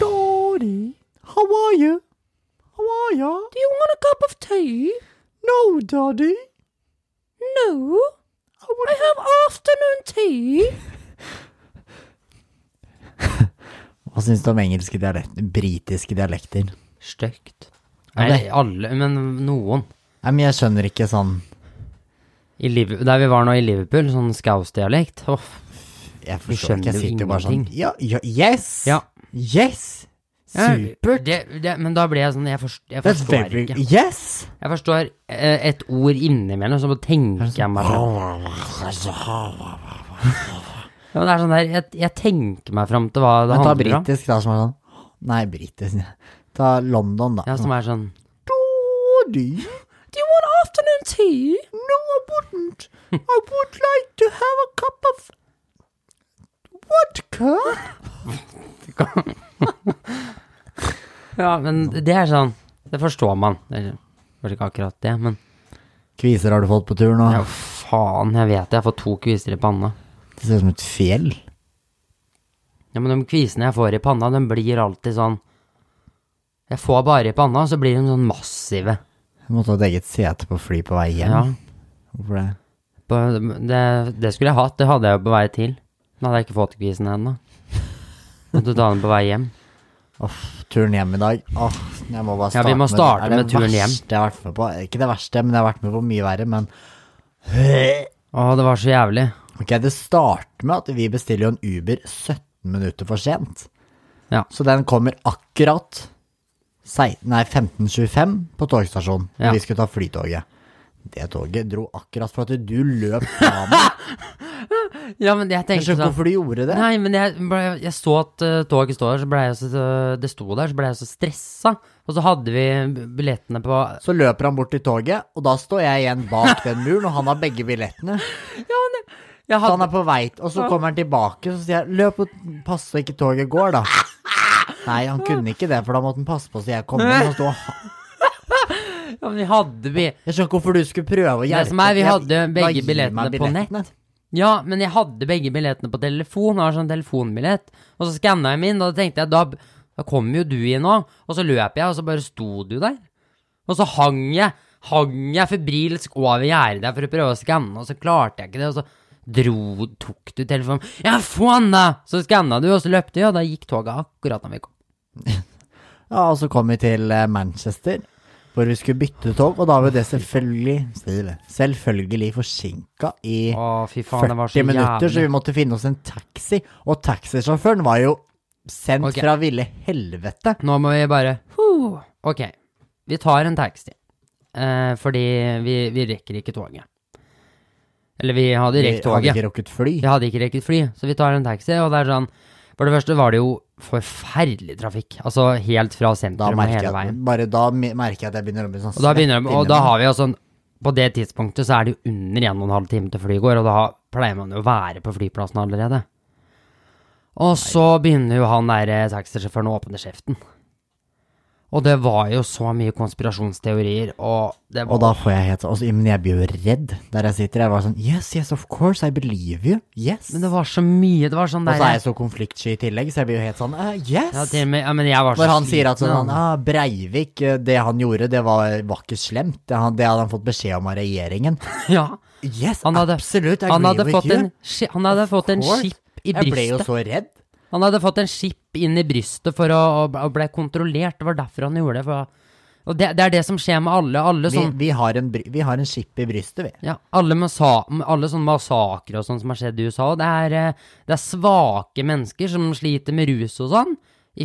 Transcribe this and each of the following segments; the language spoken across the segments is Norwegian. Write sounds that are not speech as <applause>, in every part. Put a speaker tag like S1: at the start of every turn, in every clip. S1: Daddy, how are you? How are you?
S2: Do you want a cup of tea?
S1: No, Daddy.
S2: No. I, have afternoon tea.
S1: Hva syns du om engelske dialekter? Britiske dialekter?
S3: Stygt.
S1: Ja,
S3: Nei,
S1: det-
S3: alle, men noen.
S1: Nei, men jeg skjønner ikke sånn
S3: I Liv- der vi var nå i Liverpool, sånn Scouse-dialekt. Åh,
S1: Jeg forstår ikke.
S3: Du
S1: Jeg
S3: skjønner jo
S1: sitter bare sånn
S3: ingenting.
S1: Ja, ja, yes!
S3: Ja.
S1: Yes!
S3: jeg-
S1: Super.
S3: Det, det, men da ble jeg sånn Jeg, forst, jeg
S1: That's
S3: forstår
S1: very
S3: ikke.
S1: Yes!
S3: Jeg forstår eh, et ord innimellom, så bare tenker
S1: sånn-
S3: jeg meg fram. Ja, men det er sånn der, jeg, jeg tenker meg fram til hva det
S1: Men ta
S3: handler om.
S1: britisk, da, som er sånn Nei, britisk <laughs> Ta London, da.
S3: Ja, som er sånn
S1: Daddy,
S2: Do you want afternoon tea?
S1: no, I wouldn't. I would like to have a cup of vodka.
S3: Ja, men det er sånn Det forstår man. Eller kanskje ikke akkurat det, men
S1: Kviser har du fått på tur nå.
S3: ja, faen, jeg vet det. Jeg får to kviser i panna.
S1: Det ser ut som et fjell.
S3: Ja, men de kvisene jeg får i panna, de blir alltid sånn Jeg får bare i panna, så blir de sånn massive.
S1: Jeg måtte ha et eget sete på fly på vei hjem.
S3: Ja.
S1: Hvorfor det?
S3: på- Det, det skulle jeg hatt, det hadde jeg jo på vei til. Da hadde jeg ikke fått kvisen ennå. Måtte ta den på vei hjem.
S1: Åh, turen hjem i dag. Åh, jeg må bare
S3: Ja,
S1: starte
S3: vi må starte
S1: med, det.
S3: med turen
S1: Det er
S3: hjem.
S1: det verste jeg har vært med på. Ikke det verste, men jeg har vært med på mye verre, men
S3: Å, det var så jævlig.
S1: Ok, det starter med at vi bestiller jo en Uber 17 minutter for sent.
S3: Ja.
S1: Så den kommer akkurat sei- nei, 15.25 på togstasjonen. når
S3: Ja.
S1: Vi skulle ta flytoget. Det toget dro akkurat for at du løp
S3: <laughs>
S1: fra meg.
S3: Ja, men jeg
S1: Jeg
S3: tenkte
S1: skjønner ikke
S3: sånn
S1: hvorfor du gjorde det.
S3: Nei, men jeg, ble, jeg så at eh, toget står der, så ble jeg så, det sto der, så ble jeg så stressa. Og så hadde vi billettene på
S1: Så løper han bort til toget, og da står jeg igjen bak den muren, og han har begge billettene.
S3: <laughs> jeg
S1: Så han
S3: hadde,
S1: er på vei, og så kommer han tilbake, så sier jeg 'løp og pass så ikke toget går',
S3: <laughs>
S1: da. Nei, han kunne ikke det, for da måtte han passe på så jeg kom inn og sto og
S3: ja, men vi hadde bi...
S1: Jeg skjønner ikke hvorfor du skulle prøve å hjelpe.
S2: Det som er, vi
S1: Jeg-
S3: hadde begge
S1: Bare gi meg
S3: billettene på
S1: billettene.
S3: Ja, men jeg hadde begge billettene på telefon. Jeg har sånn telefonbillett. Og så skanna jeg min, og da tenkte jeg da, da kommer jo du inn nå. Og så løp jeg, og så bare sto du der. Og så hang jeg hang jeg febrilsk over gjerdet der for å prøve å skanne, og så klarte jeg ikke det. Og så dro, tok du telefonen Ja, få han, da! Så skanna du, og så løpte vi, og da gikk toget akkurat da vi kom.
S1: Ja, og så kom vi til eh, Manchester, hvor vi skulle bytte tog, og da var det selvfølgelig stille, selvfølgelig forsinka i
S3: Å, fy faen, det
S1: 40
S3: var så
S1: minutter, så
S3: jævlig.
S1: vi måtte finne oss en taxi. Og taxisjåføren var jo sendt
S3: Ok.
S1: fra ville helvete.
S3: Nå må vi bare huh. Ok, vi tar en taxi. Eh, fordi vi, vi rekker ikke toget. Eller vi hadde
S1: Vi
S3: rekt
S1: hadde
S3: toget.
S1: ikke rukket fly.
S3: Vi hadde ikke rekket fly, så vi tar en taxi. Og det er sånn For det første var det jo forferdelig trafikk. Altså helt fra
S1: Da
S3: sentrum og
S1: merker jeg,
S3: hele veien.
S1: at- bare da me- merker jeg at jeg begynner å bli sånn
S3: Og da, begynner,
S1: svett
S3: og
S1: inni
S3: da
S1: meg.
S3: har vi jo sånn På det tidspunktet så er det jo under en og en halv time til flyet går, og da pleier man jo å være på flyplassen allerede. Og så begynner jo han der eh, taxisjåføren å åpne kjeften. Og det var jo så mye konspirasjonsteorier, og det var
S1: Og da får jeg helt sånn altså, Men jeg blir jo redd der jeg sitter. Jeg var sånn Yes, yes, of course. I believe you. Yes.
S3: Men det var så mye, det var
S1: Og
S3: sånn der
S1: så er jeg så konfliktsky i tillegg, så jeg blir jo helt sånn eh, Yes!
S3: ja, til og med, ja, men jeg var så
S1: Når han sier at sånn,
S3: sliten, ja.
S1: han, ah, Breivik, eh, det han gjorde, det var, var ikke slemt. Det, han, det hadde han fått beskjed om av regjeringen.
S3: <laughs> Ja.
S1: Yes,
S3: Han hadde-
S1: absolutt. I
S3: Han
S1: agree
S3: hadde
S1: with
S3: fått
S1: you.
S3: en, ski- han hadde fått en
S1: course.
S3: skip i
S1: Jeg ble jo
S3: brystet.
S1: så redd.
S3: Han hadde fått en skip inn i brystet for å, å og ble kontrollert. Det var derfor han gjorde det. For, og det, det er det som skjer med alle. Alle
S1: Vi,
S3: sånn,
S1: vi, har en, bry- vi har en skip i brystet, vi.
S3: ja, alle, massa, alle sånn massakre og sånn som har skjedd i USA. og Det er, eh, det er svake mennesker som sliter med rus og sånn,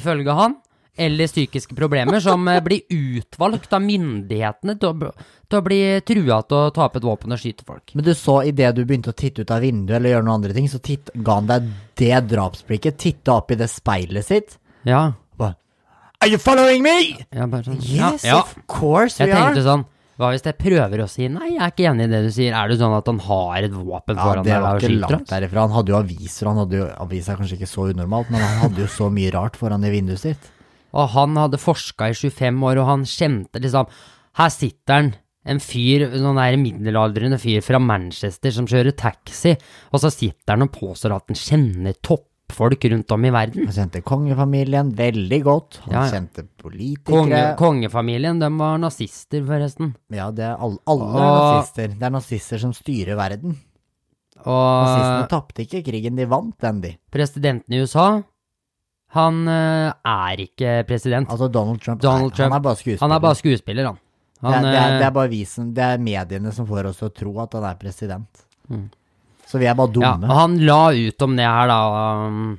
S3: ifølge han. Eller psykiske problemer, som eh, blir utvalgt av myndighetene til å, bl- til å bli trua til å ta opp et våpen og skyte folk.
S1: Men du så idet du begynte å titte ut av vinduet eller gjøre noen andre ting, så titt, ga han deg det drapsblikket. Titta opp i det speilet sitt.
S3: Ja,
S1: og Bare, Are you following me?
S3: ja bare sånn. ja,
S1: Yes,
S3: ja.
S1: of course we
S3: Jeg
S1: are.
S3: tenkte sånn Hva hvis jeg prøver å si Nei, jeg er ikke enig i det du sier Er det sånn at han har et våpen
S1: Ja,
S3: foran
S1: det
S3: deg
S1: var
S3: og
S1: ikke
S3: skyter
S1: langt
S3: oss?
S1: derifra. Han hadde jo aviser, og han hadde jo aviser er kanskje ikke så unormalt, men han hadde jo så mye rart foran i vinduet sitt.
S3: Og han hadde forsket i 25 år Og han kjente liksom Her sitter han En fyr, sånn der middelaldrende fyr fra Manchester Som kjører taxi Og så sitter han og påstår at han kjenner toppfolk toppfolk rundt om i verden.
S1: Han kjente kongefamilien veldig godt. Han
S3: Ja, ja.
S1: kjente
S3: Konge,
S1: politikere.
S3: kongefamilien, de var nazister, forresten.
S1: ja, det er alle, alle er
S3: Og-
S1: nazister. Det er nazister som styrer verden. Nazistene
S3: Og
S1: tapte ikke krigen, de vant den, de.
S3: presidenten i USA, han eh, er ikke president.
S1: Altså Donald Trump.
S3: Donald
S1: er-
S3: Trump,
S1: Han er bare skuespiller.
S3: Han er bare skuespiller, han. han
S1: det, er, det, er, det
S3: eh,
S1: er bare vi som, det er mediene som får oss til å tro at han er president. Så vi er bare
S3: Mm. eh, Ja, og
S1: dumme.
S3: han la ut om det her, da. Um,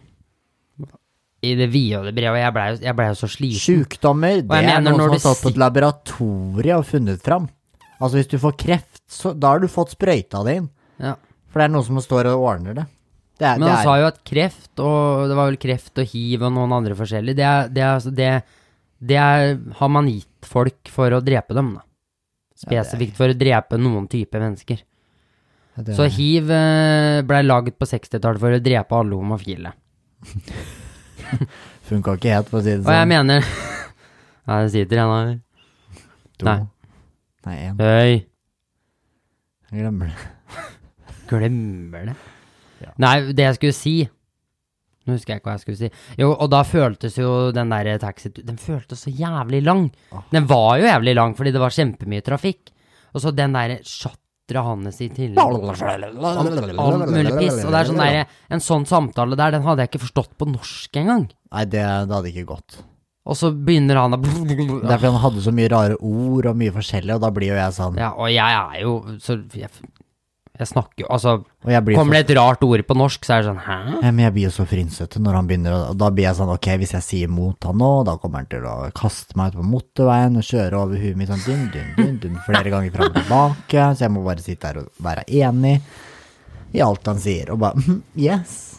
S3: I det vide og det brede, og jeg blei jo- jeg blei jo så sliten.
S1: Sjukdommer, det er
S3: mener
S1: noe som
S3: når
S1: har
S3: du
S1: stått på
S3: sit-
S1: et laboratorie og funnet fram. Altså hvis du får kreft, så da har du fått sprøyta di inn.
S3: Ja.
S1: For det er noen som står og ordner det. Det er,
S3: Men
S1: det
S3: han
S1: er,
S3: sa jo at kreft, og det var vel kreft og hiv og noen andre forskjellige, det, er- det, er altså- det, det er, har man gitt folk for å drepe dem, da. Spesifikt for å drepe noen type mennesker.
S1: det,
S3: Så hiv eh, ble laget på 60-tallet for å drepe alle homofile.
S1: Funka ikke helt, for å si det
S3: Og jeg
S1: sånn.
S3: mener <laughs> Nei, det sitter en her.
S1: To.
S3: Nei.
S1: Nei, én.
S3: Høy.
S1: Jeg glemmer det.
S3: Glemmer det.
S1: Ja.
S3: Nei, det jeg skulle si Nå husker jeg ikke hva jeg skulle si. Jo, og da føltes jo den der taxituren Den føltes så jævlig lang.
S1: Åh.
S3: Den var jo jævlig lang fordi det var kjempemye trafikk. Og så den derre chatteret hans i tillegg. Alt mulig piss. Og det er sånn derre En sånn samtale der, den hadde jeg ikke forstått på norsk engang.
S1: Nei, det, det hadde ikke gått.
S3: Og så begynner han å
S1: Det er fordi han hadde så mye rare ord og mye forskjellig, og da blir jo jeg sånn.
S3: Ja, og jeg er jo så Jeg, jeg snakker jo Altså,
S1: Og jeg blir så
S3: kommer det et rart ord på norsk, så er det sånn Hæ?
S1: Ja, men jeg blir jo så frynsete når han begynner, å- og da blir jeg sånn, ok, hvis jeg sier mot han nå, da kommer han til å kaste meg ut på motorveien og kjøre over huet mitt sånn dun, dun, dun, dun, flere ganger fram og tilbake, så jeg må bare sitte her og være enig i alt han sier, og bare, «Mhm, yes.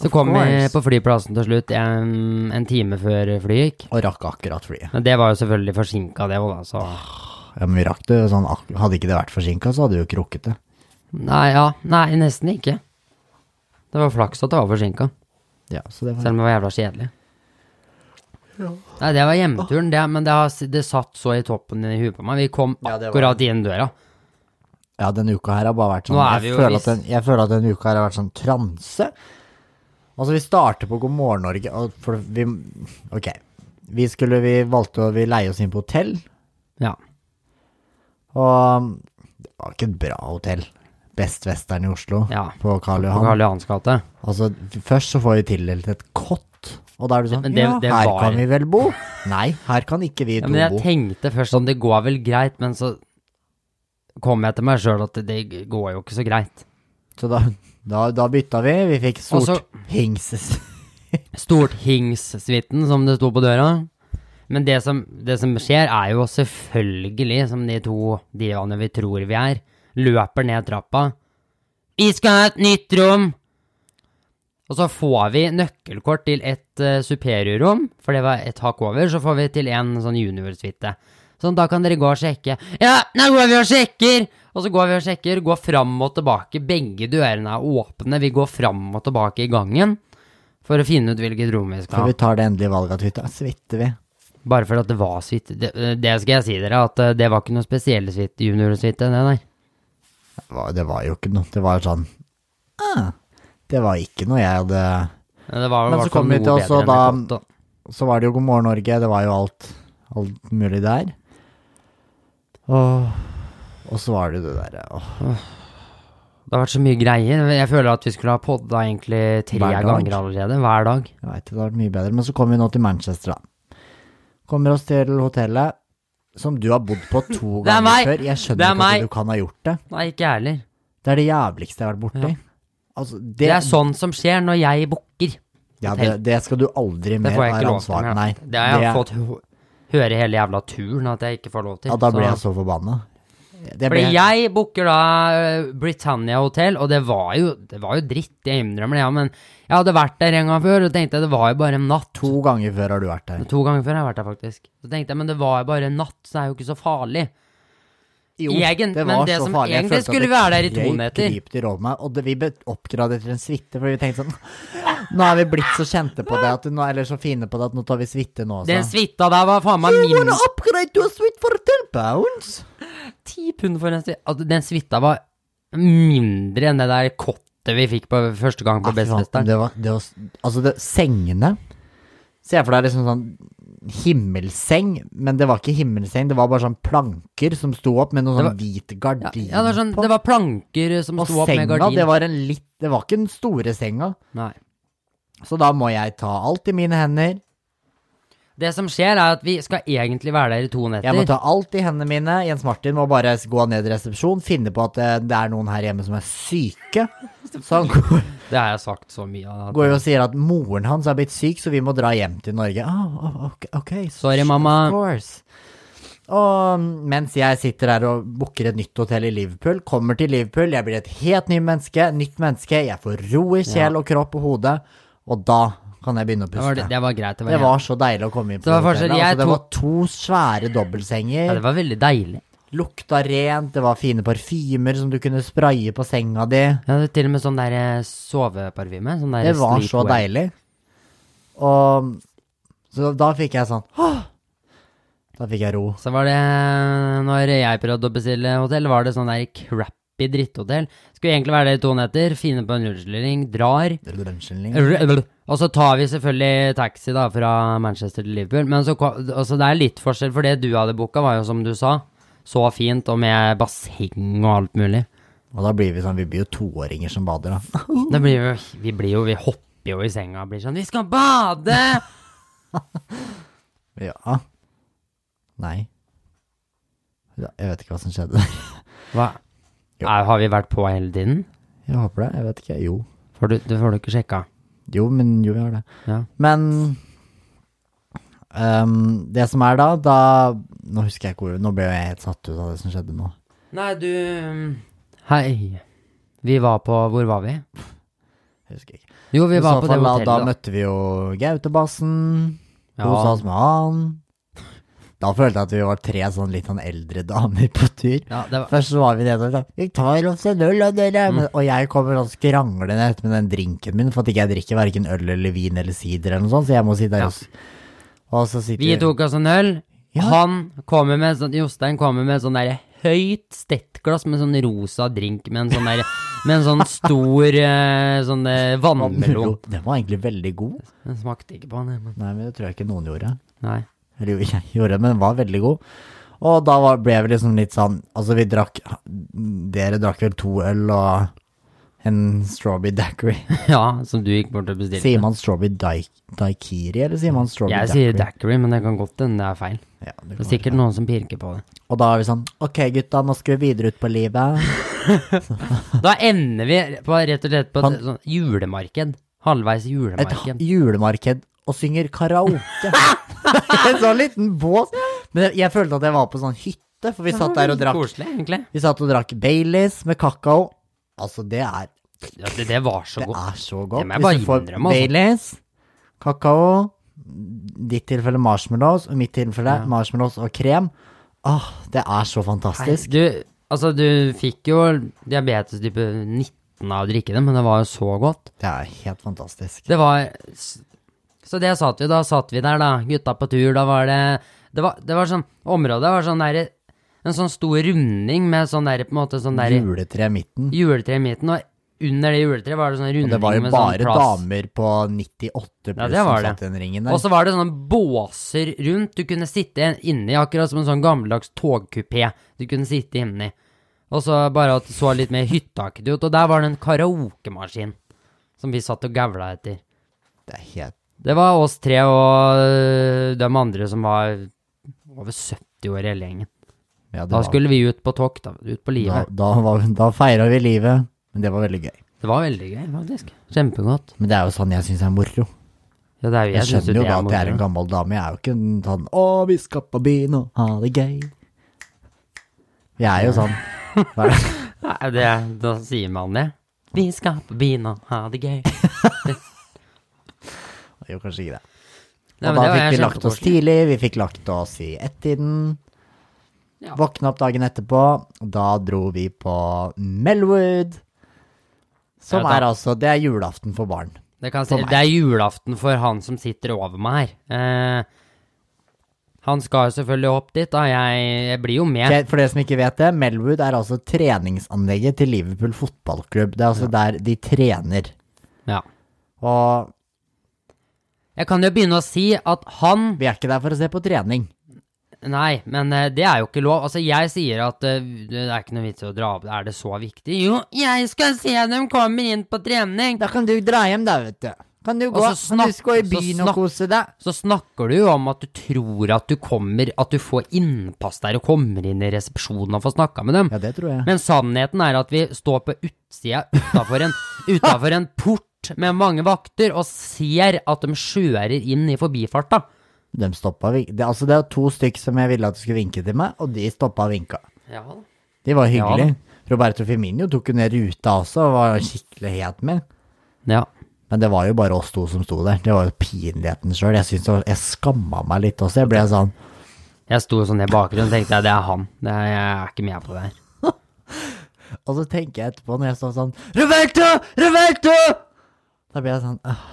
S3: Så kom vi
S1: course.
S3: på flyplassen til slutt en, en time før flyet gikk.
S1: Og rakk akkurat flyet.
S3: Men det var jo selvfølgelig forsinka, det òg, da. Så.
S1: Ja, men vi rakk det jo sånn, ak- hadde ikke det vært forsinket, så hadde vi jo ikke rukket det.
S3: Nei, ja. Nei, nesten ikke. Det var flaks at det var forsinka,
S1: Ja, så det var
S3: selv om det var jævla kjedelig. Nei, det var hjemturen, det, men det, har, s- det satt så i toppen i huet på meg. Vi kom
S1: Ja, det var-
S3: akkurat inn døra.
S1: Ja, denne uka her har bare vært sånn
S3: Nå er vi
S1: jeg,
S3: jo
S1: føler
S3: visst-
S1: at den, jeg føler at denne uka her har vært sånn transe. Altså, vi starter på God morgen Norge, og for vi Ok. Vi skulle Vi valgte å Vi leie oss inn på hotell,
S3: Ja.
S1: og det var ikke et bra hotell. Best Western i Oslo,
S3: Ja.
S1: på Karl
S3: På
S1: Johan.
S3: Karl Johans gate.
S1: Altså, først så får vi tildelt et kott, og da er du sånn
S3: Men det-
S1: Ja,
S3: det
S1: her
S3: var-
S1: kan vi vel bo? Nei, her kan ikke vi
S3: Ja,
S1: to
S3: men jeg
S1: bo.
S3: tenkte først sånn, det går vel greit, men så kom jeg til meg sjøl at det, det går jo ikke så greit.
S1: Så da, da, da bytta vi. Vi fikk
S3: Og
S1: sort
S3: så-
S1: hingses.
S3: Stortingssuiten, som det sto på døra. Men det som, det som skjer, er jo selvfølgelig, som de to divaene vi tror vi er, løper ned trappa. Vi skal ha et nytt rom! Og så får vi nøkkelkort til et uh, superiorrom, for det var et hakk over. Så får vi til en sånn juniorsuite. Sånn, da kan dere gå og sjekke. Ja, nå går vi og sjekker! Og så går vi og sjekker, går fram og tilbake. Begge dørene er åpne. Vi går fram og tilbake i gangen for å finne ut hvilket rom vi
S1: For
S3: skal ha.
S1: vi tar det endelige valget at vi tar suiter, vi.
S3: Bare for at det var suite. Det, det skal jeg si dere, at eh, det var ikke noe spesiell suite, juniorsuite, det der.
S1: Det var, det var jo ikke noe. Det var sånn ah, Det var ikke noe jeg hadde
S3: Det var i
S1: Men så
S3: hvert fall
S1: kom vi
S3: noe
S1: til også
S3: bedre enn
S1: da-
S3: det godt, da.
S1: Så var det jo God morgen Norge, det var jo alt, alt mulig der. Og, og så var det jo det derre åh,
S3: Det har vært så mye greier. Jeg føler at vi skulle ha podda egentlig tre
S1: Hver dag.
S3: ganger allerede. Hver dag.
S1: Jeg veit det hadde vært mye bedre. Men så kom vi nå til Manchester, da. Kommer oss til hotellet som du har bodd på
S3: <laughs>
S1: to
S3: Det er
S1: ganger
S3: meg!
S1: før. Jeg
S3: Det
S1: skjønner
S3: er
S1: ikke
S3: meg!
S1: at du kan ha gjort det.
S3: Nei, ikke jeg heller.
S1: Det er det jævligste jeg har vært borti.
S3: Ja.
S1: Altså, det,
S3: Det er sånn som skjer når jeg booker.
S1: ja, det, det skal du aldri
S3: Det
S1: mer
S3: får jeg ikke
S1: være
S3: lov til.
S1: ansvar
S3: men
S1: Nei.
S3: Det har jeg
S1: det-
S3: fått hø- høre hele jævla turen at jeg ikke får lov til.
S1: ja, da ble jeg
S3: så.
S1: så forbanna. Det
S3: Fordi
S1: ble-
S3: jeg booker da eh, Britannia Hotel, og det var jo, det var jo dritt, jeg innrømmer det, ja, men jeg hadde vært der en gang før og tenkte det var jo bare en natt.
S1: To ganger før har du vært her.
S3: To ganger før har jeg vært der, faktisk. Så tenkte jeg, men det var jo bare en natt, så det er jo ikke så farlig.
S1: Jo,
S3: Egen- men det som egentlig
S1: Jeg følte at
S3: skulle
S1: det
S3: være der i to
S1: krøp
S3: netter.
S1: dypt i råd meg, og det, vi ble oppgradert til en suite, fordi vi tenkte sånn <laughs> Nå er vi blitt så kjente på det, at nå, eller så fine på det, at nå tar vi suite nå
S3: Den
S1: også.
S3: suita der var faen meg minst
S1: upgrade to a suite for 10 pounds?
S3: ti pund for en suite. Altså, den suita var mindre enn det der kottet åtte vi fikk på første gang på
S1: Ja, fy faen,
S3: Bestfesteren.
S1: Det var, det var, altså, det, sengene Se for deg liksom sånn himmelseng, men det var ikke himmelseng, det var bare sånn planker som sto opp med noen
S3: Det
S1: sånn hvit
S3: Ja,
S1: gardin
S3: ja, det, var sånn,
S1: på.
S3: det var planker som
S1: og
S3: sto opp med
S1: senga, det
S3: gardin.
S1: var en litt Det var ikke den store senga.
S3: Nei.
S1: Så da må jeg ta alt i mine hender.
S3: Det som skjer, er at vi skal egentlig være der i to
S1: Jeg må
S3: netter.
S1: ta alt i hendene mine. Jens Martin må bare gå ned i resepsjon, finne på at det, det er noen her hjemme som er syke. Så han <laughs> går,
S3: Det har jeg sagt så mye av. at-
S1: går jo og sier at moren hans er blitt syk, så vi må dra hjem til Norge. Ah, ah, ok, ok.
S3: Sorry,
S1: of
S3: mamma.
S1: course. Og mens jeg sitter her og booker et nytt hotell i Liverpool, kommer til Liverpool, jeg blir et helt nytt menneske, nytt menneske, jeg får ro i sjel og kropp og hode, og da kan jeg begynne å
S3: Det var,
S1: puste.
S3: det var greit. Det var,
S1: Det
S3: greit.
S1: var så deilig å komme inn på
S3: Det var
S1: hotellet.
S3: forskjell. Jeg
S1: Altså, det
S3: tok-
S1: var to svære
S3: ja,
S1: dobbeltsenger.
S3: det var veldig deilig.
S1: Lukta rent, det var fine parfymer som du kunne spraye på senga di.
S3: Jeg hadde til og med sånn der eh, soveparfyme. Sånn der
S1: Det var så
S3: sleepwear.
S1: deilig. Og så da fikk jeg sånn Åh! Da fikk jeg ro.
S3: Så var det, når jeg prøvde å bestille hotell, var det sånn der crappy dritthotell. Skulle egentlig være der i to netter, finne på en rulleskilling, drar.
S1: Rødskjelling.
S3: Og så tar vi selvfølgelig taxi da fra Manchester til Liverpool. Men så, ko- altså det er litt forskjell, for det du hadde booka var jo som du sa, så fint og med basseng og alt mulig.
S1: Og da blir vi sånn, vi blir jo toåringer som bader, da. <laughs>
S3: Det blir jo, vi blir jo, vi hopper jo i senga og blir sånn 'Vi skal bade!'
S1: Ja. Nei. Ja, Jeg vet ikke hva som skjedde. <laughs>
S3: Hva? Er, har vi vært på hele tiden?
S1: Jeg håper det. Jeg vet ikke. Jo.
S3: Får du, det får du ikke sjekka.
S1: Jo, men jo, vi har det.
S3: Ja.
S1: Men ehm, det som er da, da Nå husker jeg ikke hvor Nå ble jeg helt satt ut av det som skjedde nå.
S3: Nei, du mm, Hei. Vi var på Hvor var vi?
S1: Jeg husker ikke.
S3: Jo, vi
S1: I
S3: var
S1: så
S3: på det
S1: fall, da,
S3: hotellet.
S1: da
S3: da.
S1: møtte vi jo Gautebassen. Kosa
S3: Ja.
S1: oss med han. Da følte jeg at vi var tre sånn litt sånn eldre damer på tur.
S3: Ja, det var,
S1: Først så var vi nede og sa 'Vi tar oss en øl, og dere
S3: Mm.
S1: men, Og jeg kommer og skranglende etter med den drinken min, for at ikke jeg drikker verken øl eller vin eller sider eller noe sånt, så jeg må sitte der
S3: Ja.
S1: og s- Og så sitter
S3: vi tok oss en øl.
S1: Ja.
S3: Han kommer med sånn Jostein kommer med sånn derre høyt stettglass med sånn rosa drink med en sånn derre Med en sånn stor eh, sånn eh,
S1: <laughs>
S3: vannmelon.
S1: Den var egentlig veldig god.
S3: Den smakte ikke på han, jeg, men
S1: Nei, men det tror jeg ikke noen gjorde.
S3: Nei.
S1: Eller jo, <laughs> jeg gjorde det, men den var veldig god. Og da var, ble vi liksom litt sånn Altså, vi drakk Dere drakk vel to øl og en strawberry daiquiri. <laughs>
S3: Ja, som du gikk bort og bestilte.
S1: Sier man strawberry daik- daikiri, eller sier man strawberry
S3: jeg sier daiquiri, men det kan godt hende det er feil.
S1: Ja, det
S3: Det
S1: kan
S3: er sikkert noen som pirker på det.
S1: være. Og da er vi sånn Ok, gutta, nå skal vi videre ut på livet.
S3: Da ender vi på, rett og slett på
S1: Han-
S3: et sånn julemarked. Halvveis
S1: Et
S3: julemarked.
S1: julemarked og synger karaoke. <laughs> en sånn liten bås. Men jeg følte at jeg var på sånn hytte, for vi satt der og drakk
S3: Koselig, egentlig.
S1: Vi satt og drakk Baileys med kakao. Altså, det er
S3: Ja, det, det var så
S1: Det
S3: godt.
S1: er så godt.
S3: Det må jeg bare
S1: Hvis du får
S3: innrømme, altså.
S1: Baileys, kakao, ditt tilfelle marshmallows, og mitt tilfelle marshmallows og krem. Åh, det er så fantastisk.
S3: Du, altså, du fikk jo diabetes type 19 av å drikke det, men det var jo så godt.
S1: Det er helt fantastisk.
S3: Det var Så det satt vi, da satt vi der, da. Gutta på tur, da var det Det var, det var sånn Området var sånn derre En sånn stor runding med sånn derre på en måte sånn derre
S1: Juletre i midten.
S3: juletre i midten, og under det juletreet var det sånn runding
S1: Og det var jo
S3: med sånn
S1: bare
S3: plass.
S1: damer på 98 pluss
S3: Ja, det
S1: som
S3: var det.
S1: satt i den ringen
S3: Og
S1: der.
S3: så var det sånne båser rundt. Du kunne sitte inni, akkurat som en sånn gammeldags togkupé. Du kunne sitte inni. Og så bare at det så litt mer hytteaktig ut. Og der var det en karaokemaskin som vi satt og gavla etter.
S1: Det er helt
S3: Det var oss tre og øh, de andre som var over 70 år i hele gjengen.
S1: Ja, det
S3: Da
S1: var,
S3: skulle vi ut på tokt, da. Ut på
S1: da,
S3: livet.
S1: da, var, da feira vi livet. Men det var veldig gøy.
S3: Det var veldig gøy, faktisk. Kjempegodt.
S1: Men det er jo sånn jeg syns er moro.
S3: Ja, det er jo,
S1: Jeg
S3: synes
S1: skjønner jo
S3: det
S1: da at jeg
S3: moro.
S1: er en gammel dame. Jeg er jo ikke en sånn 'Å, vi skal på byen og ha det gøy'. Jeg er jo sånn. Hva er det?
S3: Nei, det, da sier man det. Vi skal på byen og ha det gøy.
S1: Jo, kanskje ikke det. Og
S3: Nei, men
S1: da
S3: det var
S1: fikk vi
S3: jeg
S1: lagt oss
S3: kjempekoselig.
S1: tidlig. Vi fikk lagt oss i ett-tiden.
S3: Ja.
S1: Våkna opp dagen etterpå. Da dro vi på Melwood. Som
S3: Ja, da-
S1: er altså Det er julaften for barn.
S3: Det, kan jeg si, det er julaften for han som sitter over meg her. Eh, Han skal jo selvfølgelig opp dit, da. Jeg, jeg blir jo med.
S1: Ok, For dere som ikke vet det, Melwood er altså treningsanlegget til Liverpool fotballklubb. Det er altså der de trener.
S3: Ja.
S1: Og
S3: Jeg kan jo begynne å si at han
S1: vi er ikke der for å se på trening.
S3: Nei, men eh, det er jo ikke lov. Altså, jeg sier at eh, det er ikke noe vits i å dra opp. Er det så viktig? Jo, jeg skal se dem kommer inn på trening!
S1: Da kan du dra hjem, da, vet du. Kan du gå,
S3: Og så
S1: kan du
S3: Altså, snakk-
S1: gå i
S3: så
S1: byen og
S3: snakk-
S1: kose deg?
S3: Så snakker du jo om at du tror at du kommer, at du får innpass der og kommer inn i resepsjonen og får snakka med dem.
S1: Ja, det tror jeg.
S3: Men sannheten er at vi står på utsida utafor en, utenfor en port med mange vakter og ser at de skjører inn i forbifarta.
S1: De stoppa vink... Det, altså, det er to stykk som jeg ville at du skulle vinke til meg, og de stoppa og vinka.
S3: Ja da.
S1: De var
S3: Ja
S1: hyggelige. Roberto Firmino tok jo ned ruta også og var skikkelig het med.
S3: Ja.
S1: Men det var jo bare oss to som sto der. Det var jo pinligheten sjøl. Jeg, synes det var- jeg skamma meg litt også. Jeg ble sånn
S3: Jeg sto sånn i bakgrunnen og tenkte at det er han. Det er, jeg er ikke med på det her.
S1: Og så tenker jeg etterpå, når jeg står sånn Roberto! Roberto! Da blir jeg sånn «Åh,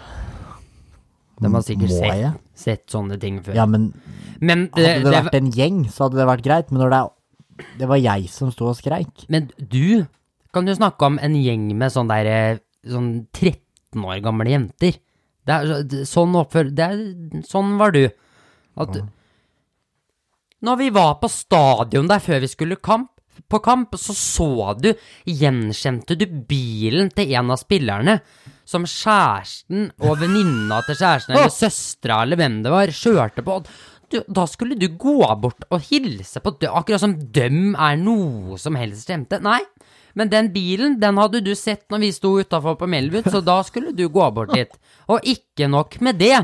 S3: De har sikkert
S1: Må jeg?
S3: sett, sett sånne ting før.
S1: Ja, men
S3: Men, det,
S1: hadde det
S3: det,
S1: vært en gjeng, så hadde det vært greit. Men når det er Det var jeg som sto og skreik.
S3: men du kan jo snakke om en gjeng med sånn der eh, sånn 13 år gamle jenter. Det er, så- det- sånn oppfør... Det er, sånn var du. At Når vi var på stadion der før vi skulle kamp, på kamp, så så du Gjenkjente du bilen til en av spillerne som kjæresten og venninna til kjæresten, eller søstera eller hvem det var, kjørte på? Du, da skulle du gå bort og hilse på dø, akkurat som døm er noe som helst kjente. Nei, men den bilen, den hadde du sett når vi sto utafor på Melwood, så da skulle du gå bort dit. Og ikke nok med det,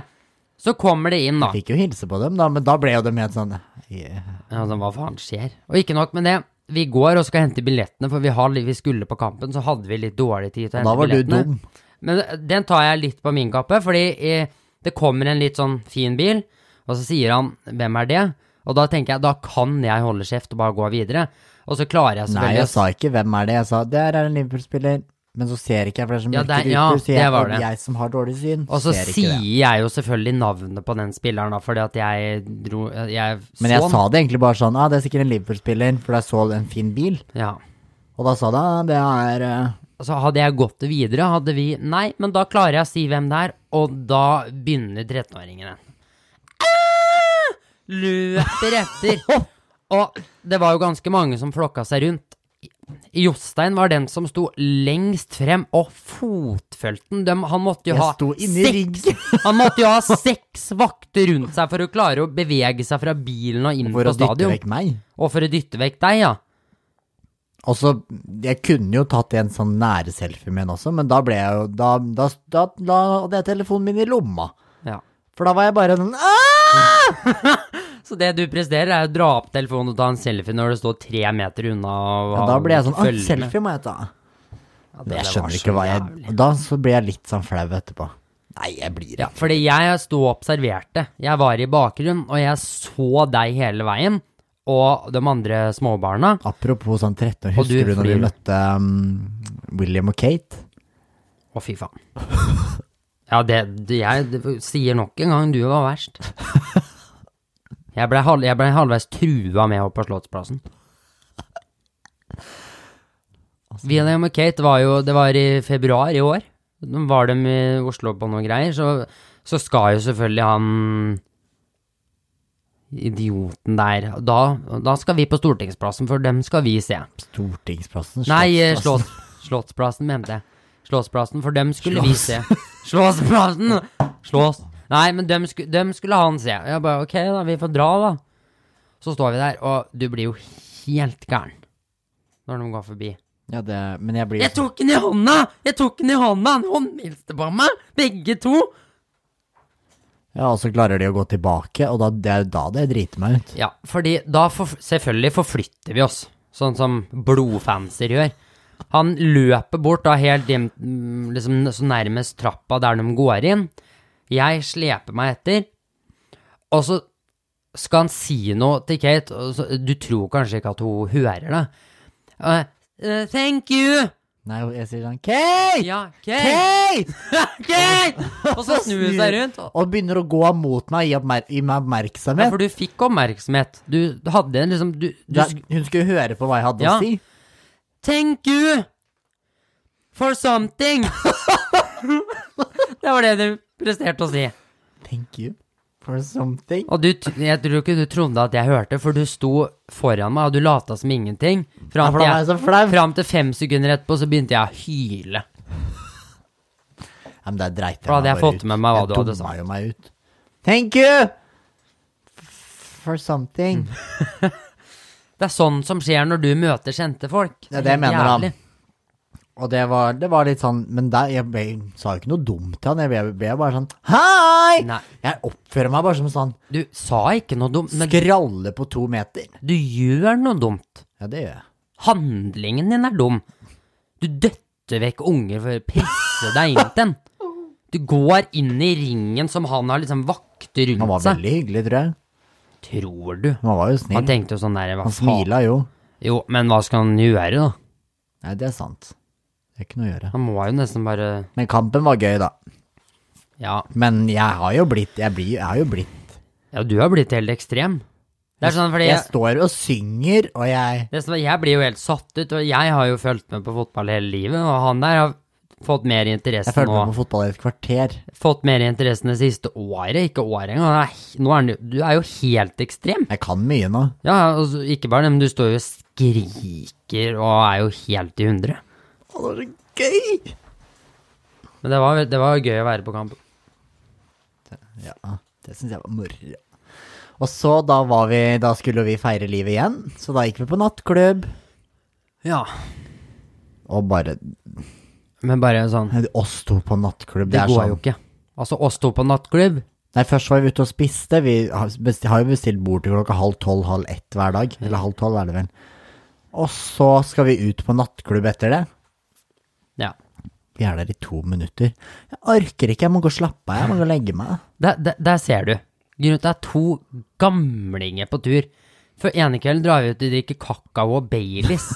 S3: så kommer det inn, da.
S1: Fikk jo hilse på dem, da, men da ble jo de helt sånn «Yeah».
S3: Ja, sånn, hva faen skjer? Og ikke nok med det. Vi går og skal hente billettene, for vi, har, litt- vi skulle på kampen, så hadde vi litt dårlig tid til å
S1: Og da
S3: hente
S1: var du
S3: billettene.
S1: dum.
S3: Men den tar jeg litt på min kappe, fordi eh, det kommer en litt sånn fin bil, og så sier han 'hvem er det?' Og da tenker jeg da kan jeg holde kjeft og bare gå videre. Og så klarer jeg
S1: Nei,
S3: selvfølgelig
S1: jeg sa ikke hvem er det. Jeg sa der er en Liverpool-spiller. Men så ser ikke jeg, for det er så
S3: Ja,
S1: mørke
S3: der- ja,
S1: ruter, så jeg,
S3: det var
S1: og
S3: det.
S1: jeg som har dårlig syn,
S3: Og så
S1: ser ikke
S3: sier
S1: det.
S3: jeg jo selvfølgelig navnet på den spilleren, da, fordi at jeg dro eh, Jeg så
S1: Men jeg
S3: den.
S1: sa det egentlig bare sånn, ah, det er sikkert en Liverpool-spiller, for jeg så en fin bil.
S3: Ja.
S1: Og da sa det, ah, det er eh,
S3: Altså, hadde jeg gått videre, hadde vi Nei, men da klarer jeg å si hvem det er, og da begynner 13-åringene. Ah! Løper
S1: <laughs>
S3: etter. Og det var jo ganske mange som flokka seg rundt. Jostein var den som sto lengst frem, og fotfølte den. Dem- Han måtte jo
S1: Jeg
S3: ha
S1: sto inni riggen.
S3: <laughs> Han måtte jo ha seks vakter rundt seg for å klare å bevege seg fra bilen og inn
S1: for
S3: Mm, på
S1: å dytte
S3: stadion.
S1: vekk meg.
S3: Og for å dytte vekk deg, ja.
S1: Og så, jeg kunne jo tatt en sånn nære selfie med henne også, men da ble jeg jo, da, da, da, da hadde jeg telefonen min i lomma.
S3: ja.
S1: For da var jeg bare sånn, «Ah!»
S3: Så det du presterer, er å dra opp telefonen og ta en selfie når du står tre meter unna. Og
S1: Og
S3: har
S1: da ble jeg sånn,
S3: noen
S1: «Ah,
S3: følge med».
S1: selfie må jeg ta.
S3: Ja,
S1: Jeg
S3: der var
S1: skjønner
S3: så
S1: ikke hva jeg,
S3: jævlig.
S1: og da så ble jeg litt sånn flau etterpå. Nei, jeg blir det.
S3: Fordi jeg sto og observerte. Jeg var i bakgrunnen, og jeg så deg hele veien. Og de andre småbarna.
S1: Apropos sånn 13 år,
S3: Og du
S1: husker du når vi
S3: flyr.
S1: møtte um, William og Kate?
S3: Å, fy faen. <laughs> Ja, det, det jeg det, sier nok en gang du var verst. Jeg ble, halv, jeg ble halvveis trua med opp på Slottsplassen. William og Kate var jo Det var i februar i år. Da var de i Oslo på noen greier, så, så skal jo selvfølgelig han Idioten der. Da, da skal vi på Stortingsplassen, for dem skal vi se.
S1: Stortingsplassen?
S3: Nei, eh,
S1: Slottsplassen.
S3: slott, Slottsplassen mente jeg. Slottsplassen, for dem skulle vi se. <laughs> Slottsplassen! Slås. Nei, men dem, sku, dem skulle han se. Jeg bare ok, da, vi får dra, da. Så står vi der, og du blir jo helt gæren når de går forbi.
S1: Ja, det, men jeg blir
S3: Jeg tok den i hånda! Jeg tok den i hånda! Han håndhilste på meg, begge to!
S1: Ja, og så klarer de å gå tilbake, og da, det er jo da det driter meg ut.
S3: Ja, fordi da forf- selvfølgelig forflytter vi oss, sånn som blodfanser gjør. Han løper bort da helt dim- mm, liksom, så nærmest trappa der de går inn. Jeg sleper meg etter, og så skal han si noe til Kate, og så, du tror kanskje ikke at hun hører det. Eh, eh, thank you!
S1: Nei, jeg sier sånn Kate!
S3: Ja, Kate!
S1: Kate!
S3: Kate! Og så snur hun seg rundt. og-
S1: Og begynner å gå mot meg, gi, oppmer gi meg
S3: Ja,
S1: oppmerksomhet.
S3: for du fikk oppmerksomhet. Du, du hadde en liksom du, du,
S1: Da- hun skulle høre på hva jeg hadde
S3: Ja.
S1: å si.
S3: Thank you for something. det var det du presterte å si.
S1: Thank you for something.
S3: Og du, t- jeg tror ikke du trodde at jeg hørte, for du sto foran meg, og du lata som ingenting.
S1: Ja,
S3: Fram
S1: for da var
S3: til, jeg,
S1: jeg så flau.
S3: fram til fem sekunder etterpå så begynte jeg å hyle.
S1: Ja, men der dreit jeg
S3: For da hadde jeg
S1: bare
S3: fått
S1: ut.
S3: med meg hva du hadde
S1: Jeg
S3: sagt.
S1: dumma jo meg ut. Thank you for something.
S3: Mm. Det er sånn som skjer når du møter kjente folk.
S1: Det er det jeg mener, da.
S3: Jævlig.
S1: Og det var, det var litt sånn Men der, jeg, ble, sa jo ikke noe dumt til han. Jeg ble, ble bare sånn Hei!
S3: Nei.
S1: Jeg oppfører meg bare som sånn
S3: Du sa ikke noe dumt, men
S1: skralle på to meter.
S3: du gjør noe dumt.
S1: Ja, det gjør jeg.
S3: Handlingen din er dum. Du døtter vekk unger for å presse deg inn til den. Du går inn i ringen som han har liksom vakter
S1: Han
S3: rundt
S1: var
S3: seg.
S1: veldig hyggelig, tror jeg.
S3: Tror du.
S1: Han var jo
S3: Han
S1: snill.
S3: tenkte jo sånn der, hva
S1: Han
S3: faen?
S1: smila jo.
S3: Jo, men hva skal han gjøre da?
S1: Nei, det er sant. Det er ikke noe å gjøre.
S3: Han må jo nesten bare
S1: Men kampen var gøy, da.
S3: Ja,
S1: Men jeg har jo blitt Jeg, blir, jeg har jo blitt
S3: ja du har blitt helt ekstrem. Det er sånn fordi
S1: Jeg står og synger, og jeg
S3: det er sånn, Jeg blir jo helt satt ut, og jeg har jo fulgt med på fotball hele livet, og han der har fått mer interesse
S1: Jeg følte
S3: nå.
S1: meg på fotball i et kvarter.
S3: Fått mer interesse det siste året, ikke året engang. Han er he- Nå er han jo Du er jo helt ekstrem.
S1: Jeg kan mye nå.
S3: Ja, altså, ikke bare det, men du står jo og skriker og er jo helt i hundre.
S1: Å, det var så gøy!
S3: Men det var, det var gøy å være på kamp.
S1: Ja, det syns jeg var moro. Og så, da var vi Da skulle vi feire livet igjen, så da gikk vi på nattklubb.
S3: Ja.
S1: Og bare
S3: Men bare sånn
S1: Oss to på nattklubb, det,
S3: Det
S1: er
S3: går
S1: sånn
S3: jo ikke. Altså, oss to på nattklubb
S1: Nei, først var vi ute og spiste. Vi har besti- har jo bestilt bord til klokka halv tolv, halv ett hver dag. Eller halv tolv, er det vel. Og så skal vi ut på nattklubb etter det.
S3: Ja.
S1: Vi er der i to minutter. Jeg orker ikke, jeg må gå og slappe av, jeg må gå og legge meg.
S3: Der, der, der ser du. Grunnen til at det er to gamlinger på tur. For ene kvelden drar vi ut og drikker kakao og <laughs> Baileys.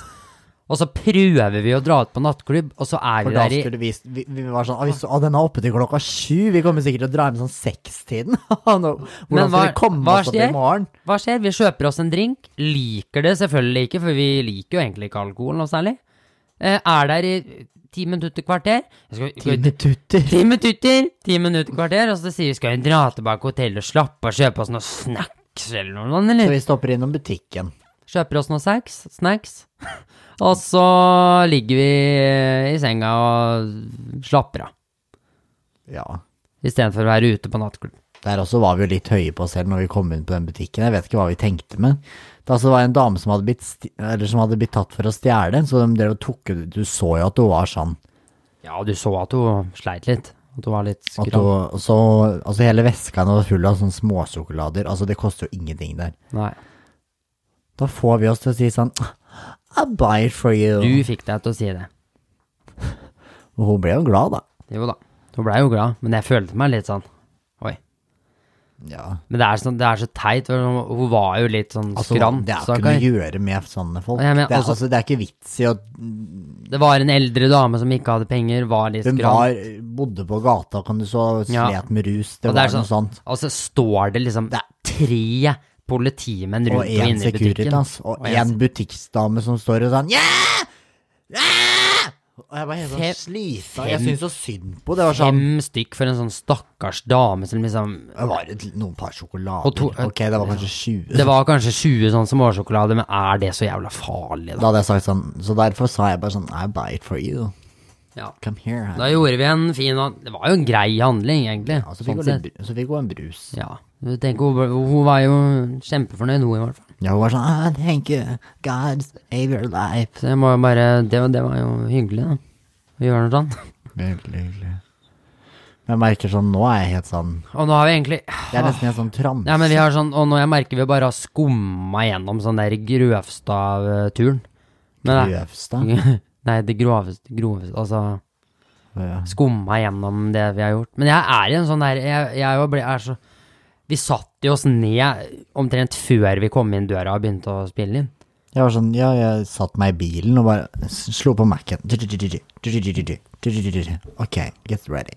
S3: og så prøver vi å dra ut på nattklubb, og så er
S1: For
S3: vi
S1: da
S3: der i
S1: skulle vi, vi, vi var sånn, «Å, vi så, å, den er oppe til klokka sju, vi kommer sikkert til å dra hjem sånn sekstiden. <laughs> Nå,
S3: Men
S1: Hvordan skal
S3: hva-
S1: vi komme
S3: hva
S1: oss opp i
S3: skjer?
S1: morgen?
S3: Hva skjer? Vi kjøper oss en drink. Liker det selvfølgelig ikke, for vi liker jo egentlig ikke alkohol noe særlig. Eh, er der i ti minutter kvarter. Jeg skal-
S1: Ti minutter.
S3: Ti minutter, ti minutter kvarter, og så sier vi skal vi dra tilbake til hotellet og slappe av, kjøpe oss noe snacks eller noe sånt,
S1: Så
S3: eller?
S1: vi stopper innom butikken.
S3: Kjøper oss noe snacks, snacks. <laughs> Og så ligger vi eh, i senga og slapper av,
S1: Ja.
S3: istedenfor å være ute på nattklubb.
S1: Der også var vi jo litt høye på oss selv når vi kom inn på den butikken. Jeg vet ikke hva vi tenkte med. Da så var det en dame som hadde blitt, sti- eller som hadde blitt tatt for å stjele, så de drev og tok Du så jo at hun var sånn.
S3: Ja, du så at hun sleit litt. At hun var litt
S1: At
S3: skrann.
S1: hun, og så, altså hele veska hennes var full av sånne småsjokolader. Altså, det koster jo ingenting der.
S3: Nei.
S1: Da får vi oss til å si sånn I buy it for you.
S3: Du fikk deg til å si det.
S1: Og hun ble jo glad, da.
S3: Jo da. Hun blei jo glad, men jeg følte meg litt sånn Oi.
S1: Ja.
S3: Men det er, sånn, det er så teit. for Hun hun var jo litt sånn
S1: Altså,
S3: skrann.
S1: det er jo
S3: stakkar.
S1: ikke noe å gjøre med sånne folk.
S3: Ja, men
S1: det, er,
S3: altså-
S1: altså, det er ikke vits i å
S3: Det var en eldre dame som ikke hadde penger, var litt
S1: Hun
S3: skrann.
S1: var, bodde på gata, kan du så
S3: Ja.
S1: slet med rus. Det
S3: Og det
S1: var
S3: er sånn-
S1: noe sånt.
S3: Og så står det liksom det er tre politimenn rundt
S1: Og
S3: og,
S1: én
S3: inne i butikken.
S1: Securitas, og
S3: en
S1: én butikksdame som står og sånn yeah! Yeah! Og jeg var helt
S3: Fem-
S1: sånn slita. Jeg
S3: fem-
S1: syntes så synd på det. Det var sånn
S3: Fem stykk for en sånn stakkars dame som liksom
S1: Det var et, noen par sjokolader.
S3: Og to-
S1: ok, det var kanskje 20.
S3: Det var kanskje 20 sånn småsjokolade, men er det så jævla farlig,
S1: Da
S3: da?
S1: hadde jeg sagt sånn, så derfor sa jeg bare sånn I buy it for you.
S3: Ja.
S1: Come here.
S3: Da gjorde vi en fin han- Det var jo en grei handling, egentlig.
S1: Ja, så fikk hun litt
S3: sånn sett.
S1: bru- så fikk hun en brus.
S3: Ja. Du tenker, hun, hun var jo kjempefornøyd, hun i hvert fall.
S1: Ja, hun var sånn ah, Thank you, God save your life.
S3: Så jeg må jo bare Det, var- det var jo hyggelig, da. Å gjøre noe sånt.
S1: Veldig hyggelig. Men Jeg merker sånn, nå er jeg helt sånn
S3: Og nå har vi egentlig
S1: Det er nesten en sånn trans.
S3: Ja, men vi har sånn, og nå jeg merker vi bare har skumma gjennom sånn der Grøvstad-turen. Men det-
S1: Grøvstad.
S3: <laughs> Nei, det groveste, groveste Altså
S1: Ja.
S3: skumma gjennom det vi har gjort. Men jeg er i en sånn der Jeg, jeg jo ble, er så Vi satte jo oss ned omtrent før vi kom inn døra og begynte å spille inn.
S1: Jeg var sånn, ja, jeg satt meg i bilen og bare s- slo på Mac-en. Ok, get ready.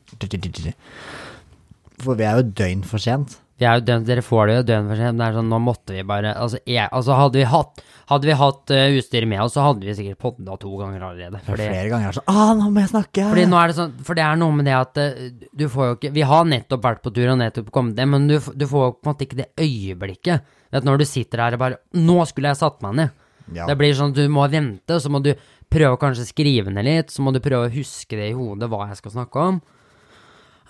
S1: For vi er jo døgn for sent.
S3: Vi er jo døgn, dere får det jo døgn for sent. men Det er sånn, nå måtte vi bare Altså, jeg, altså hadde vi hatt, hadde vi hatt eh, utstyret med oss, så hadde vi sikkert podda to ganger allerede.
S1: For
S3: Fordi,
S1: flere ganger er det sånn, ah, nå må jeg snakke.
S3: fordi nå er det sånn For det er noe med det at eh, du får jo ikke Vi har nettopp vært på tur og nettopp kommet hjem, men du, f- du får jo på en måte ikke det øyeblikket. Vet du, når du sitter her og bare Nå skulle jeg satt meg ned.
S1: Ja.
S3: Det blir sånn at du må vente, og så må du prøve å kanskje skrive ned litt, så må du prøve å huske det i hodet, hva jeg skal snakke om.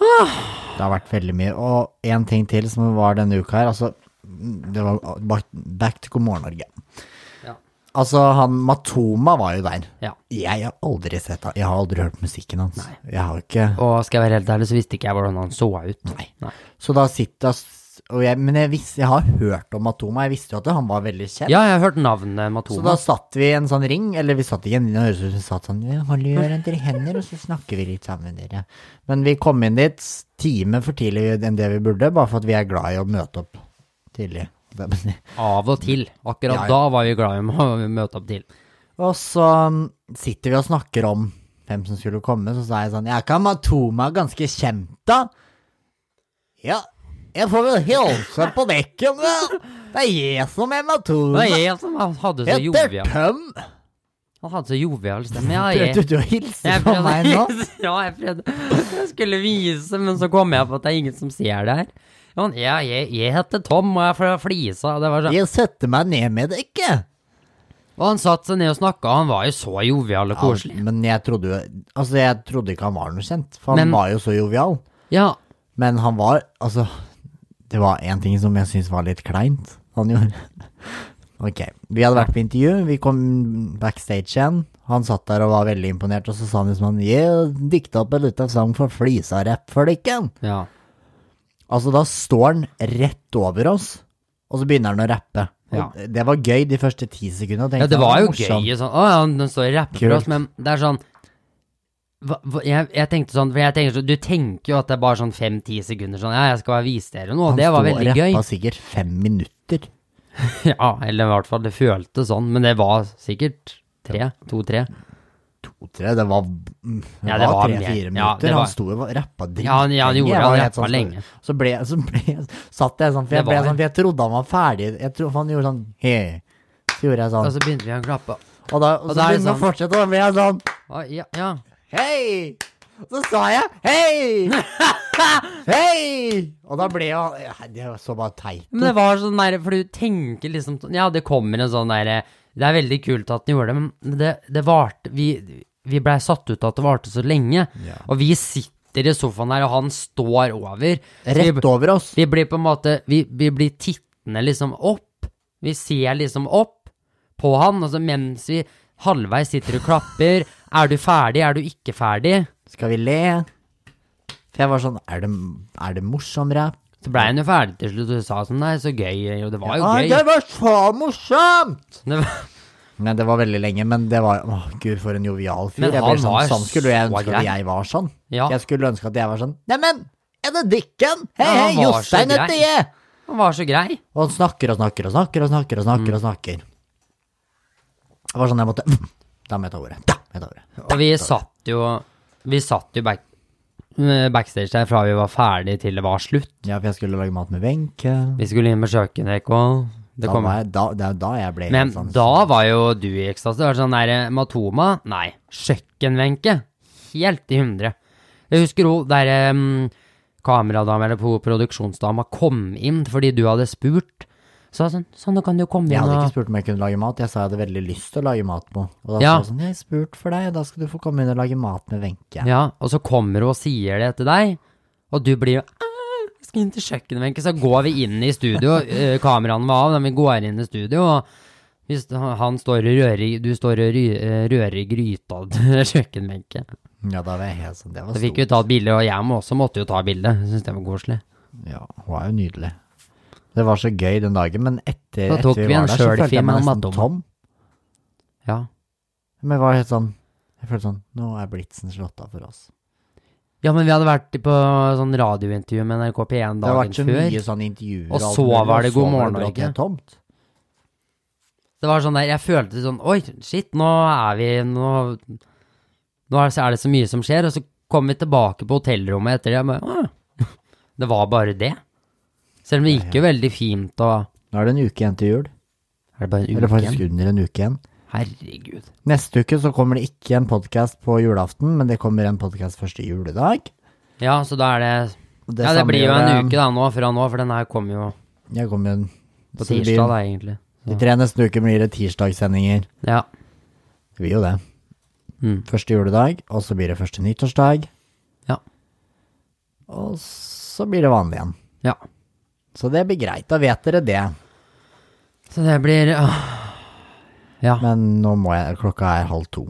S1: Det har vært veldig mye. Og en ting til som var denne uka her, altså Det var back, back to God morgen, Norge.
S3: Ja.
S1: Altså, han Matoma var jo der.
S3: Ja.
S1: Jeg har aldri sett han. Jeg har aldri hørt musikken hans. Jeg har ikke
S3: Og skal jeg være helt ærlig, så visste ikke jeg hvordan han så ut.
S1: Nei.
S3: Nei.
S1: Så da sitter jeg og jeg, Men jeg, visste, jeg har hørt om Matoma. Jeg visste jo at han var veldig kjent.
S3: Ja, jeg har hørt navnet
S1: Så
S3: Matoma.
S1: da satt vi i en sånn ring, eller vi satt ikke i en ring, det høres ut som vi satt sånn, ja, hold hverandre i hender, og så snakker vi litt sammen dere. Men vi kom inn dit time for tidlig enn det vi burde, bare for at vi er glad i å møte opp tidlig. Det- men-
S3: Av og til. Akkurat
S1: Ja, ja.
S3: da var vi glad i å <laughs> møte opp til.
S1: Og så mm, sitter vi og snakker om hvem som skulle komme, så sa jeg sånn, jeg kan Matoma er ganske kjent da. Ja, jeg får vel hilse på dekken, da. Det er jeg som er
S3: Det var
S1: Matoma.
S3: jeg som han hadde så
S1: Heter
S3: jovial
S1: Tøm.
S3: Han hadde så jovial stemme. Ja,
S1: Prøvde
S3: jeg,
S1: du å hilse
S3: jeg
S1: på meg nå?
S3: prøvde <laughs> Ja, jeg prøvde. Jeg skulle vise, men så kom jeg på at det er ingen som ser det her. Ja, men jeg, jeg, jeg heter Tom, og jeg er fra Flisa. Det var sånn.
S1: Jeg setter meg ned med det, ikke?
S3: Og han satte seg ned og snakka, og han var jo så jovial og koselig.
S1: Ja, men jeg trodde, jo- altså jeg trodde ikke han var noe kjent, for han
S3: Men-
S1: var jo så jovial.
S3: Ja,
S1: Men han var, altså, det var en ting som jeg syntes var litt kleint, han gjorde. <laughs> Ok, vi hadde vært på intervju, vi kom backstage igjen, han satt der og var veldig imponert, og så sa han liksom, han, jeg dikta opp en liten sang for Flisa-rapp for dikken.
S3: ja.
S1: Altså, da står han rett over oss, og så begynner han å rappe. Og
S3: Ja.
S1: Det var gøy de første ti sekundene. og tenkte
S3: Ja, det
S1: jeg,
S3: var jo
S1: morsomt.
S3: gøy. Sånn, å ja, den står og rapper for
S1: Kult.
S3: oss, men det er sånn hva, hva, jeg, jeg tenkte sånn, for jeg tenker sånn, Du tenker jo at det er bare sånn fem-ti sekunder sånn Ja, jeg skal bare vise dere noe. og Det var veldig
S1: Han sto og
S3: gøy.
S1: rappa sikkert fem minutter.
S3: <laughs> Ja, eller i hvert fall det føltes sånn, men det var sikkert tre. To-tre.
S1: To-tre, det var, mm, det
S3: Ja, det
S1: var
S3: var mer.
S1: tre-fire
S3: Ja,
S1: minutter.
S3: det var-
S1: Han sto og rappa dritlenge.
S3: Ja, han- ja, han gjorde
S1: Jeg
S3: det,
S1: var
S3: han
S1: helt
S3: rappa
S1: sånn-
S3: lenge.
S1: Så ble, så ble satt jeg sånn, for jeg,
S3: Det
S1: ble
S3: var-
S1: sånn, for jeg trodde han var ferdig. Jeg tro, for han gjorde sånn he, Så gjorde jeg
S3: Og
S1: sånn.
S3: så begynte vi å klappe.
S1: Og, da, og,
S3: og
S1: så
S3: da er det
S1: begynte han å
S3: sånn-
S1: fortsette, og da ble jeg sånn
S3: Å, Ja, ja.
S1: hei! Så sa jeg hei!
S3: <laughs>
S1: hei! Og da ble jeg Det var så bare teit.
S3: Men det var sånn der, for du tenker liksom sånn- Ja, det kommer en sånn derre Det er veldig kult at den gjorde det, men det, det varte Vi, vi blei satt ut av at det varte så lenge.
S1: Ja.
S3: Og vi sitter i sofaen her, og han står over. Så
S1: Rett
S3: vi,
S1: over oss.
S3: vi blir på en måte vi, vi blir tittende liksom opp. Vi ser liksom opp på han, og så mens vi halvveis sitter og klapper. Er du ferdig? Er du ikke ferdig?
S1: Skal vi le? For jeg var sånn Er det, er det morsom rap?
S3: Så blei han jo ferdig til slutt, og du sa sånn Nei, så gøy. Og det var jo
S1: Ja,
S3: gøy.
S1: det var så morsomt!
S3: Det var,
S1: Nei, det var veldig lenge, men det var Å, gud, for en jovial fyr.
S3: Men
S1: Jeg
S3: han
S1: ble sånn,
S3: var
S1: sånn skulle jeg
S3: så
S1: ønske
S3: grei.
S1: at jeg var sånn.
S3: Ja.
S1: Jeg skulle ønske at jeg var sånn Neimen, er det Dikken? Hei,
S3: Ja, han
S1: hei,
S3: var så
S1: Jostein
S3: grei.
S1: heter jeg!
S3: han var så grei.
S1: Og han snakker og snakker og snakker og snakker og snakker.
S3: Mm.
S1: og snakker. Det var sånn jeg måtte Da må jeg ta ordet. Da må jeg ta ordet.
S3: Og vi satt jo Vi satt jo back, eh, backstage der fra vi var ferdig til det var slutt.
S1: Ja, for jeg skulle lage mat med Wenche.
S3: Vi skulle inn på kjøkkenet, ikke? og Det
S1: Da
S3: kom.
S1: var jeg- da- Det er jo da jeg ble
S3: Men
S1: helt sånn
S3: da var jo du i ekstase. Det var sånn der Matoma Nei, kjøkkenbenke. Helt i hundre. Jeg husker hun der um, kameradama eller pro- produksjonsdama kom inn fordi du hadde spurt. Så jeg sånn, sånn, nå kan du komme
S1: Jeg
S3: inn
S1: hadde
S3: og
S1: ikke spurt om jeg kunne lage mat, jeg sa jeg hadde veldig lyst til å lage mat på. Og da
S3: Ja.
S1: sa hun sånn, jeg har spurt for deg, da skal du få komme inn og lage mat med Wenche.
S3: Ja, og så kommer hun og sier det til deg, og du blir jo «Æ, jeg skal inn til kjøkkenbenken, så går vi inn
S1: <laughs>
S3: i studio, eh, kameraene var av, men vi går inn i studio, og hvis han står og rører, i- du står og ry- eh, rører i <laughs> gryta til kjøkkenbenken.
S1: Ja, da var jeg helt sånn, det var
S3: Så fikk
S1: stort.
S3: vi ta et bilde, og jeg må også måtte jo ta bilde, jeg synes det var koselig.
S1: Ja, hun er jo nydelig. Det var så gøy den dagen, men etter,
S3: Da tok
S1: etter
S3: vi en
S1: var der, så følte
S3: selfie
S1: jeg
S3: med
S1: meg nesten
S3: Madonna.
S1: tom.
S3: Ja.
S1: Men jeg var helt sånn, jeg følte sånn, nå er blitsen slått av for oss.
S3: ja, men vi hadde vært på sånn radiointervju med NRK P1
S1: Det har
S3: dagen
S1: vært så mye
S3: før.
S1: sånn intervjuer
S3: Og
S1: alt
S3: så
S1: mulig,
S3: var det
S1: og så
S3: God morgen,
S1: brått
S3: Norge.
S1: helt tomt.
S3: Det var sånn der, jeg følte sånn, oi, shit, nå er vi, nå, nå er det- er det så mye som skjer, og så kom vi tilbake på hotellrommet etter det, jeg bare, «Åh, <laughs> det var bare det. Selv om det gikk jo veldig fint, og
S1: Nå er det en uke igjen til jul.
S3: er det bare en
S1: Eller
S3: uke
S1: faktisk
S3: igjen?
S1: under en uke igjen.
S3: Herregud.
S1: Neste uke så kommer det ikke en podkast på julaften, men det kommer en podkast første juledag.
S3: Ja, så da er det,
S1: Og
S3: ja, det
S1: samme
S3: blir jo
S1: gjør
S3: en
S1: det-
S3: uke da nå, fra nå, for den her kommer jo
S1: Jeg kommer jo
S3: på
S1: så det blir-
S3: tirsdag da, egentlig.
S1: De tre neste uker blir det tirsdagssendinger.
S3: Ja,
S1: Det blir jo det.
S3: Mm.
S1: Første juledag, og så blir det første nyttårsdag,
S3: ja,
S1: og så blir det vanlig igjen.
S3: ja.
S1: Så det blir greit, da vet dere det.
S3: Så det blir, åh. ja,
S1: Men nå må jeg, klokka er halv to.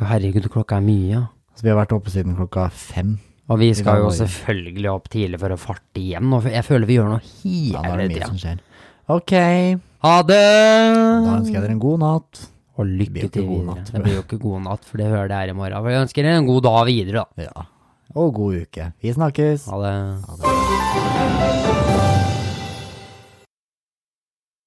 S3: Ja, herregud, klokka er mye, ja.
S1: Så vi har vært oppe siden klokka fem.
S3: Og vi
S1: dag
S3: skal jo
S1: var det.
S3: selvfølgelig opp tidlig for å farte hjem. Og jeg føler vi gjør noe
S1: Ja, da er
S3: hele
S1: det mye som
S3: tida.
S1: skjer. Ok,
S3: Ha det!
S1: da ønsker jeg dere en god natt.
S3: Og
S1: blir jo
S3: lykke
S1: ikke
S3: til
S1: god
S3: videre.
S1: natt.
S3: Det blir jo ikke god natt, for det hører dere i morgen. For jeg ønsker dere en god dag videre, da.
S1: Ja. Og god uke. Vi snakkes.
S3: Ha det.